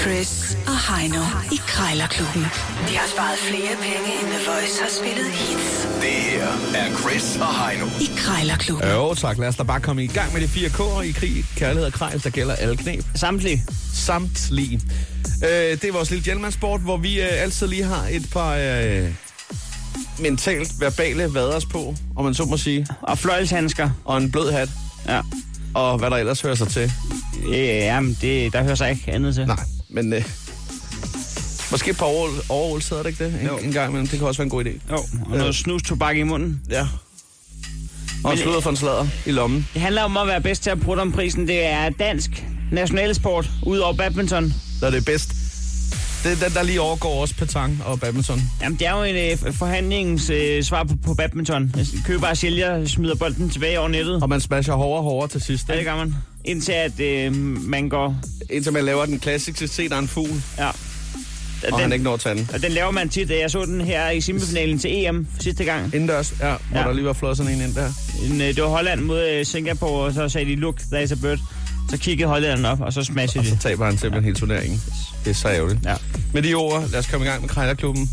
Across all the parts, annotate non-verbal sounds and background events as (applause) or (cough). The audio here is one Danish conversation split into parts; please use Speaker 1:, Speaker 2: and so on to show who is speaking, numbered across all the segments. Speaker 1: Chris og Heino i Krejlerklubben. De har sparet flere penge, end The Voice har spillet hits
Speaker 2: Det her er Chris og Heino.
Speaker 1: i Krejlerklubben.
Speaker 3: Jo Øh, tak, lad os da bare komme i gang med de fire K'er i krig, kærlighed og krejl, der gælder alle knæb.
Speaker 4: Samtlige.
Speaker 3: Samt lige. Øh, det er vores lille gentleman-sport, hvor vi øh, altid lige har et par øh, mentalt verbale vaders på, om man så må sige,
Speaker 4: Og fløjlshandsker.
Speaker 3: og en blød hat,
Speaker 4: Ja.
Speaker 3: og hvad der ellers hører sig til.
Speaker 4: Øh, jamen, det, der hører sig ikke andet til.
Speaker 3: Nej, men øh, måske et par år, overhold sidder det ikke det? En,
Speaker 4: Jo.
Speaker 3: en gang imellem, det kan også være en god idé.
Speaker 4: Jo, og
Speaker 3: Øh.
Speaker 4: noget snus tobak i munden.
Speaker 3: Ja. Og en
Speaker 4: Men,
Speaker 3: sludder for en sladder i lommen.
Speaker 4: Det handler om at være bedst til at prutte om prisen. Det er dansk nationalsport, ud over badminton.
Speaker 3: Der er det bedst. Det er den, der lige overgår også petang og badminton.
Speaker 4: Jamen, det er jo en øh, forhandlingens øh, svar på, på badminton. Køber og sælger smider bolden tilbage over nettet.
Speaker 3: Og man smasher hårdere og hårdere til sidst.
Speaker 4: Ja, det gør man. Indtil at øh, man går...
Speaker 3: Indtil man laver den klassiske, se der er en fugl,
Speaker 4: Ja.
Speaker 3: og den... han
Speaker 4: Den,
Speaker 3: ikke når at tage den.
Speaker 4: og den laver man tit. Jeg så den her i semifinalen til EM sidste gang.
Speaker 3: Indendørs, ja, hvor
Speaker 4: Ja.
Speaker 3: der lige var flået sådan en ind der.
Speaker 4: En, øh, det var Holland mod øh, Singapore, og så sagde de, look, there is a bird. Så kiggede Hollanderen op, og så smashede
Speaker 3: Og
Speaker 4: de.
Speaker 3: så taber han simpelthen hele turneringen. Det er så ærgerligt.
Speaker 4: Ja.
Speaker 3: Med de ord, lad os komme i gang med Krejlerklubben.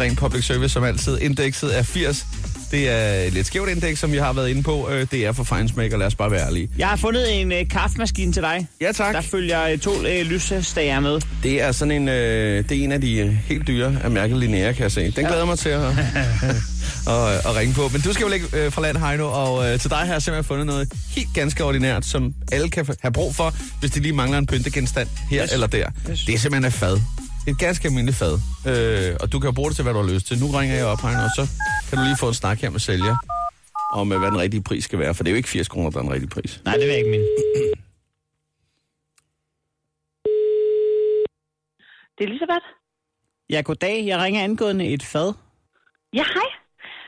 Speaker 3: Ren public service som altid. Indekset er 80. Det er et lidt skævt indeks, som vi har været inde på. Øh, Det er for fejnsmækker, lad os bare være ærlige.
Speaker 4: Jeg har fundet en øh, kaffemaskine til dig.
Speaker 3: Ja tak.
Speaker 4: Der følger øh, to øh, lysestager med.
Speaker 3: Det er sådan en, øh, det er en af de øh, helt dyre af mærket Linnea, kan jeg se. Den glæder jeg mig til (laughs) at, at, at ringe på. Men du skal jo lægge øh, fra land, Heino, og øh, til dig har jeg simpelthen fundet noget helt ganske ordinært, som alle kan få- have brug for, hvis de lige mangler en pyntegenstand her yes.
Speaker 4: Yes.
Speaker 3: eller der. Yes.
Speaker 4: Yes.
Speaker 3: Det er simpelthen et fad. Et ganske almindeligt fad. Øh, og du kan jo bruge det til, hvad du har lyst til. Nu ringer jeg op, Heino, og så kan du lige få en snak her med sælger om, øh, hvad den rigtige pris skal være. For det er jo ikke 80 kroner, der er den rigtige pris.
Speaker 4: Nej, det vil jeg ikke mene.
Speaker 5: Det er Elisabeth.
Speaker 4: Ja, goddag. Jeg ringer angående et fad.
Speaker 5: Ja, hej.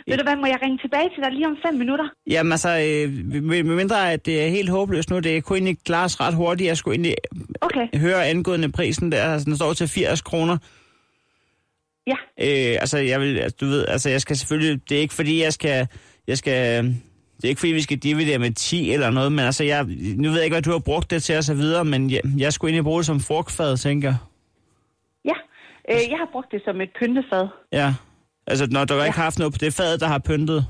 Speaker 5: Ved du hvad, må jeg ringe tilbage til dig lige om fem minutter?
Speaker 4: Jamen altså, øh, med med mindre at det er helt håbløst nu, det kunne egentlig klares ret hurtigt. Jeg skulle egentlig
Speaker 5: Okay,
Speaker 4: høre angående prisen der, altså, den står til 80 kroner.
Speaker 5: ja.
Speaker 4: Øh, altså, jeg vil, altså, du ved, altså, jeg skal selvfølgelig, det er ikke fordi, jeg skal, jeg skal, øhm, det er ikke fordi, vi skal dividere med 10 eller noget, men altså, jeg, nu ved jeg ikke, hvad du har brugt det til og så videre, men jeg, jeg skulle egentlig bruge det som frugtfad, tænker jeg.
Speaker 5: ja. Øh, jeg har brugt det som et pyntefad.
Speaker 4: Ja. Altså, når du ja. ikke har haft noget på det fad, der har pyntet.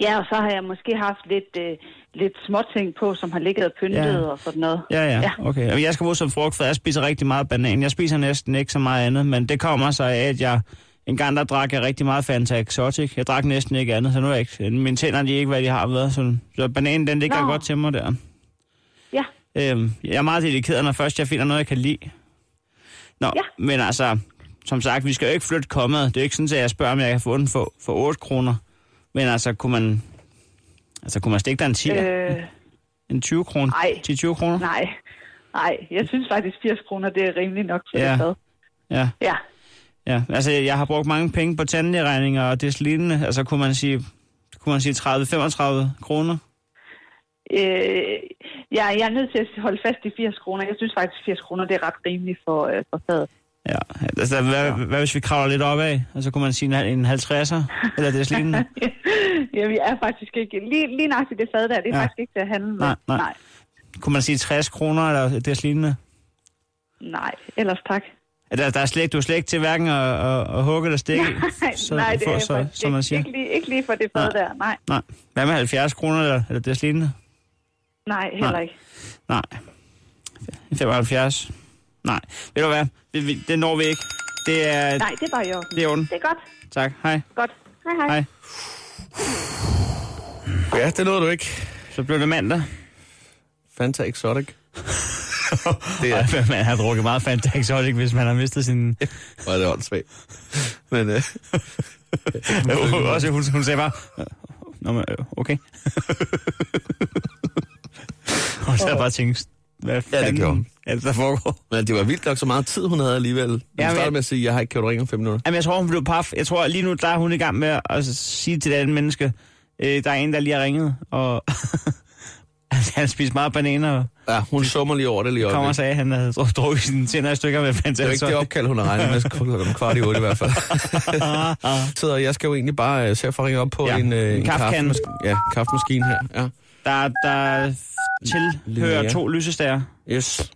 Speaker 5: Ja, og så har jeg måske haft lidt, øh, lidt småting på, som har ligget og pyntet
Speaker 4: Ja.
Speaker 5: og sådan noget.
Speaker 4: Ja, ja, ja. okay. Jamen, jeg skal bruge det som frugtfad. Jeg spiser rigtig meget banan. Jeg spiser næsten ikke så meget andet, men det kommer så af, at jeg en gang der drak jeg rigtig meget Fanta Exotic. Jeg drak næsten ikke andet, så nu er jeg ikke, mine tænder de er ikke, hvad de har været. Så, så bananen, den ligger
Speaker 5: Nå.
Speaker 4: godt til mig der.
Speaker 5: ja.
Speaker 4: Øhm, jeg er meget dedikeret, når først jeg finder noget, jeg kan lide. Nå, ja.
Speaker 5: Ja.
Speaker 4: men altså, som sagt, vi skal jo ikke flytte kommet. Det er jo ikke sådan, at jeg spørger, om jeg kan få den for, for 8 kroner. Men altså, kunne man, altså, kunne man stikke der en 10, øh,
Speaker 5: Øh,
Speaker 4: en 20 kroner?
Speaker 5: nej.
Speaker 4: 10-20 kroner?
Speaker 5: nej. Nej, jeg synes faktisk 80 kroner, det er rimeligt nok til
Speaker 4: Ja.
Speaker 5: ja. det fad.
Speaker 4: Ja,
Speaker 5: Ja.
Speaker 4: ja. Altså, jeg har brugt mange penge på tandlægeregninger og det lignende. Altså, kunne man sige, kunne man sige 30-35 kroner?
Speaker 5: Øh, ja, jeg er nødt til at holde fast i 80 kroner. Jeg synes faktisk, 80 kroner det er ret rimeligt for, øh, for fadet. (laughs)
Speaker 4: Ja, altså, hvad, ja. hvad, hvis vi kravler lidt opad? Altså, kunne man sige en hal- en 50'er? Eller det (laughs) lignende?
Speaker 5: ja, vi er faktisk ikke... Lige, lige nøjagtigt det fad der, det er
Speaker 4: Ja.
Speaker 5: ja. faktisk ikke til at handle med.
Speaker 4: Nej, nej.
Speaker 5: nej.
Speaker 4: kunne man sige 60 kroner eller det lignende?
Speaker 5: Nej, ellers tak.
Speaker 4: At Der, der er slet, ikke- du er slet ikke til hverken at, at, at hugge eller stikke? så,
Speaker 5: (laughs) (laughs) nej, det
Speaker 4: for,
Speaker 5: er
Speaker 4: så,
Speaker 5: faktisk
Speaker 4: som man
Speaker 5: ikke,
Speaker 4: siger.
Speaker 5: ikke, lige, ikke lige for det fad
Speaker 4: Nej.
Speaker 5: der. Nej,
Speaker 4: Nej. Hvad med 70 kroner eller, eller det lignende?
Speaker 5: nej, heller
Speaker 4: Nej.
Speaker 5: ikke.
Speaker 4: Nej. 75? Nej. Ved du hvad? Det, vi- det når vi ikke. Det er,
Speaker 5: Nej, det var jo.
Speaker 4: det er ondt.
Speaker 5: Det er godt.
Speaker 4: Tak. Hej.
Speaker 5: Godt. Hej, hej.
Speaker 4: Hej.
Speaker 3: Ja, det nåede du ikke.
Speaker 4: Så blev det mandag.
Speaker 3: Fanta (laughs) Exotic. det
Speaker 4: Ja.
Speaker 3: er,
Speaker 4: man har drukket meget Fanta Exotic, hvis man har mistet
Speaker 3: (laughs)
Speaker 4: sin...
Speaker 3: hvor er det åndssvagt. Men øh,
Speaker 4: Også hun, hun sagde bare... Nå, men, øh,
Speaker 3: (laughs)
Speaker 4: okay. hun sad bare og tænkte, hvad fanden
Speaker 3: gjorde hun.
Speaker 4: er det, der foregår?
Speaker 3: Men det var vildt nok så meget tid, hun havde alligevel. Hun
Speaker 4: Ja,
Speaker 3: ja,
Speaker 4: men-
Speaker 3: startede med at sige, jeg har ikke kørt ringe om fem minutter.
Speaker 4: Jamen, jeg tror, hun blev paf. Jeg tror, lige nu, der er hun i gang med at sige til det andet menneske, øh, der er en, der lige har ringet, og (laughs) han spiste meget bananer, og
Speaker 3: Ja, hun summer lige over det lige
Speaker 4: kommer altså. og
Speaker 3: øjeblik.
Speaker 4: sagde, at han havde dru- drukket sine tænder i stykker med Fanta.
Speaker 3: Det er jo ikke det opkald, hun har regnet med klokken kvart i otte i hvert
Speaker 4: (laughs)
Speaker 3: fald. Så jeg skal jo egentlig bare øh, se at få ringet op på
Speaker 4: Ja,
Speaker 3: en,
Speaker 4: en
Speaker 3: øh, en
Speaker 4: kaffekande.
Speaker 3: kaffemask- ja, kaffemaskine her. Ja.
Speaker 4: Der, der tilhører
Speaker 3: Linnea.
Speaker 4: to lysestager.
Speaker 3: Yes.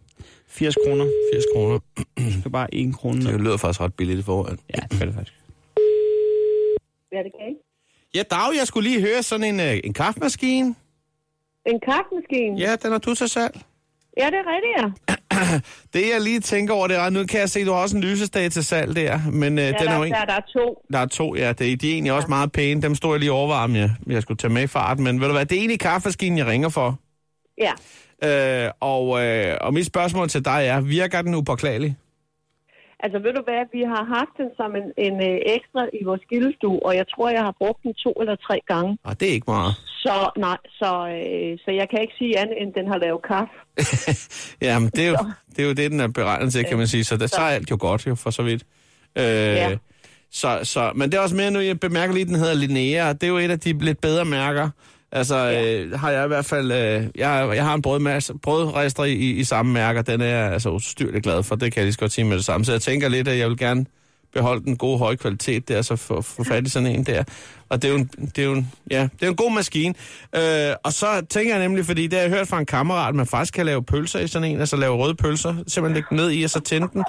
Speaker 4: 80 kroner.
Speaker 3: 80 kroner.
Speaker 4: Det er bare 1 krone.
Speaker 3: Det
Speaker 4: ned.
Speaker 3: lyder faktisk ret billigt i forhold.
Speaker 4: Ja, det gør det faktisk.
Speaker 5: Ja, det kan ikke.
Speaker 3: Ja, Dag, jeg skulle lige høre sådan en, øh, en kaffemaskine.
Speaker 5: En kaffemaskine?
Speaker 3: Ja, den har du til salg.
Speaker 5: ja, det er rigtigt, ja.
Speaker 3: Det, jeg lige tænker over, det er, nu kan jeg se, du har også en lysestage til salg der, men øh, ja,
Speaker 5: ja
Speaker 3: den er
Speaker 5: der,
Speaker 3: jo en...
Speaker 5: der, der er to.
Speaker 3: Der er to, ja. Det, er- de er egentlig også meget pæne. Dem stod jeg lige overveje, om jeg, jeg skulle tage med i fart. Men ved du hvad, det er egentlig kaffemaskinen, jeg ringer for.
Speaker 5: Ja.
Speaker 3: Øh, og, øh, og mit spørgsmål til dig er, virker den upåklagelig?
Speaker 5: Altså, ved du hvad? Vi har haft den som en, en øh, ekstra i vores gildestue, og jeg tror, jeg har brugt den to eller tre gange.
Speaker 3: Ah, det er ikke meget.
Speaker 5: Så nej, så, øh, så jeg kan ikke sige andet, end den har lavet kaffe.
Speaker 3: (laughs) Jamen, det er, jo, det er jo det, den er beregnet til, kan man sige. Så der Øh, så er alt jo godt, jo, for så vidt. Øh, ja. så, så, men det er også mere nu, jeg bemærker lige, at den hedder Linnea, og det er jo et af de lidt bedre mærker. Altså, ja. øh, har jeg i hvert fald... Øh, jeg, jeg har en brødmasse, brødrester i, i samme mærker, den er jeg altså ustyrligt glad for. Det kan jeg lige så godt sige med det samme. Så jeg tænker lidt, at jeg vil gerne beholde den gode høje kvalitet der, så få, få fat i sådan en der. Og det er jo en, det er jo en, ja, det er jo en god maskine. Øh, og så tænker jeg nemlig, fordi det har jeg hørt fra en kammerat, at man faktisk kan lave pølser i sådan en, altså lave røde pølser, simpelthen lægge den ned i, og så tænde den,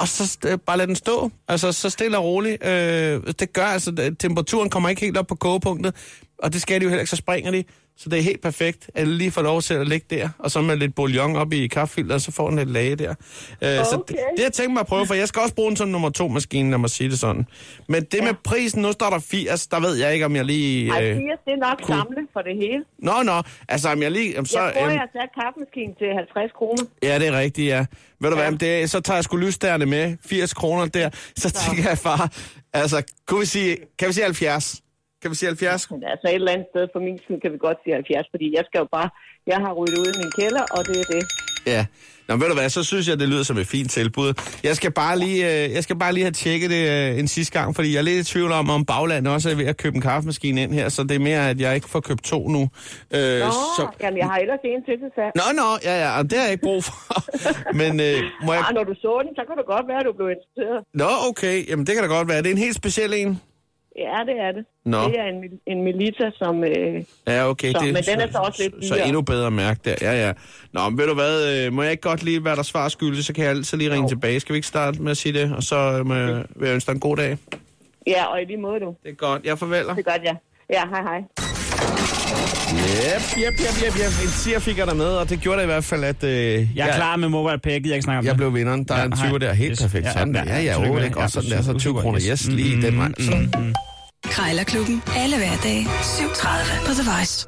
Speaker 3: og så st- øh, bare lade den stå. Altså så stille og roligt. Øh, det gør altså, at temperaturen kommer ikke helt op på kogepunktet, og det skal de jo heller ikke, så springer de. Så det er helt perfekt, at lige får lov til at ligge der, og så med lidt bouillon op i kaffefilteret, så får den lidt lage der. Øh, okay. Så det, det, jeg tænkte mig at prøve, for jeg skal også bruge den som nummer to maskine, når man siger det sådan. Men det ja. med prisen, nu står der 80, der ved jeg ikke, om jeg lige...
Speaker 5: Ej,
Speaker 3: øh,
Speaker 5: fire, det er nok
Speaker 3: cool.
Speaker 5: samle for det hele.
Speaker 3: Nå, nå, altså om jeg lige... Om så,
Speaker 5: Så, jeg tror,
Speaker 3: øhm,
Speaker 5: jeg har sat kaffemaskinen til 50 kroner.
Speaker 3: Ja, det er rigtigt, ja. Ved du ja.
Speaker 5: Ja.
Speaker 3: hvad, det, er- så tager jeg sgu lysstærne med, 80 kroner der. Så tænker jeg, far, altså, kunne vi sige, kan vi sige 70? Kan vi sige 70?
Speaker 5: Men altså et eller andet sted for min side kan vi godt sige 70, fordi jeg skal jo bare... Jeg har ryddet ud i min kælder, og det er det.
Speaker 3: Ja. Nå, ved du hvad, så synes jeg, det lyder som et fint tilbud. Jeg skal bare lige, øh, jeg skal bare lige have tjekket det øh, en sidste gang, fordi jeg er lidt i tvivl om, om baglandet også er ved at købe en kaffemaskine ind her, så det er mere, at jeg ikke får købt to nu. Øh,
Speaker 5: Nå, så... jamen jeg har ellers en til til salg.
Speaker 3: Nå, nå, ja, ja, og det har jeg ikke brug for. (laughs) Men øh, må jeg...
Speaker 5: Ah, når du så den, så kan det godt være, at du blev interesseret.
Speaker 3: Nå, okay, jamen det kan da godt være. Det er en helt speciel en.
Speaker 5: Ja, det er det.
Speaker 3: Nå.
Speaker 5: Det er en, mil- en Melita, som... Øh,
Speaker 3: Ja, okay.
Speaker 5: Så, men den er så også lidt
Speaker 3: Så
Speaker 5: dyrere.
Speaker 3: endnu bedre mærke der, ja, ja. Nå, men ved du hvad, øh, må jeg ikke godt lige være der svar skyldig, så kan jeg altid lige ringe
Speaker 5: Jo.
Speaker 3: tilbage. Skal vi ikke starte med at sige det? Og så øh, må jeg, vil jeg ønske dig en god dag.
Speaker 5: ja, og i lige måde, du.
Speaker 3: Det er godt. Jeg farveler.
Speaker 5: Det er godt, ja. Ja, hej hej.
Speaker 3: Yep, yep, yep, yep, yep. En tier fik jeg dig med, og det gjorde det i hvert fald, at... Øh,
Speaker 4: Jeg er klar med mobile pay, jeg gider ikke snakke om
Speaker 3: Jeg
Speaker 4: det.
Speaker 3: blev vinderen. Der er
Speaker 4: Ja,
Speaker 3: en
Speaker 4: hej.
Speaker 3: 20 der. Helt
Speaker 4: Yes.
Speaker 3: perfekt.
Speaker 4: Ja,
Speaker 3: Sådan der.
Speaker 4: ja,
Speaker 3: Ja, ja,
Speaker 4: tillykke
Speaker 3: oh, det
Speaker 4: med
Speaker 3: er
Speaker 4: det.
Speaker 3: godt.
Speaker 4: Ja,
Speaker 3: Sådan der. Så 20
Speaker 4: super,
Speaker 3: kroner.
Speaker 4: yes.
Speaker 3: Yes, lige den vej. Sådan.
Speaker 1: Krejlerklubben. Alle hverdage. 7.30 på The Voice.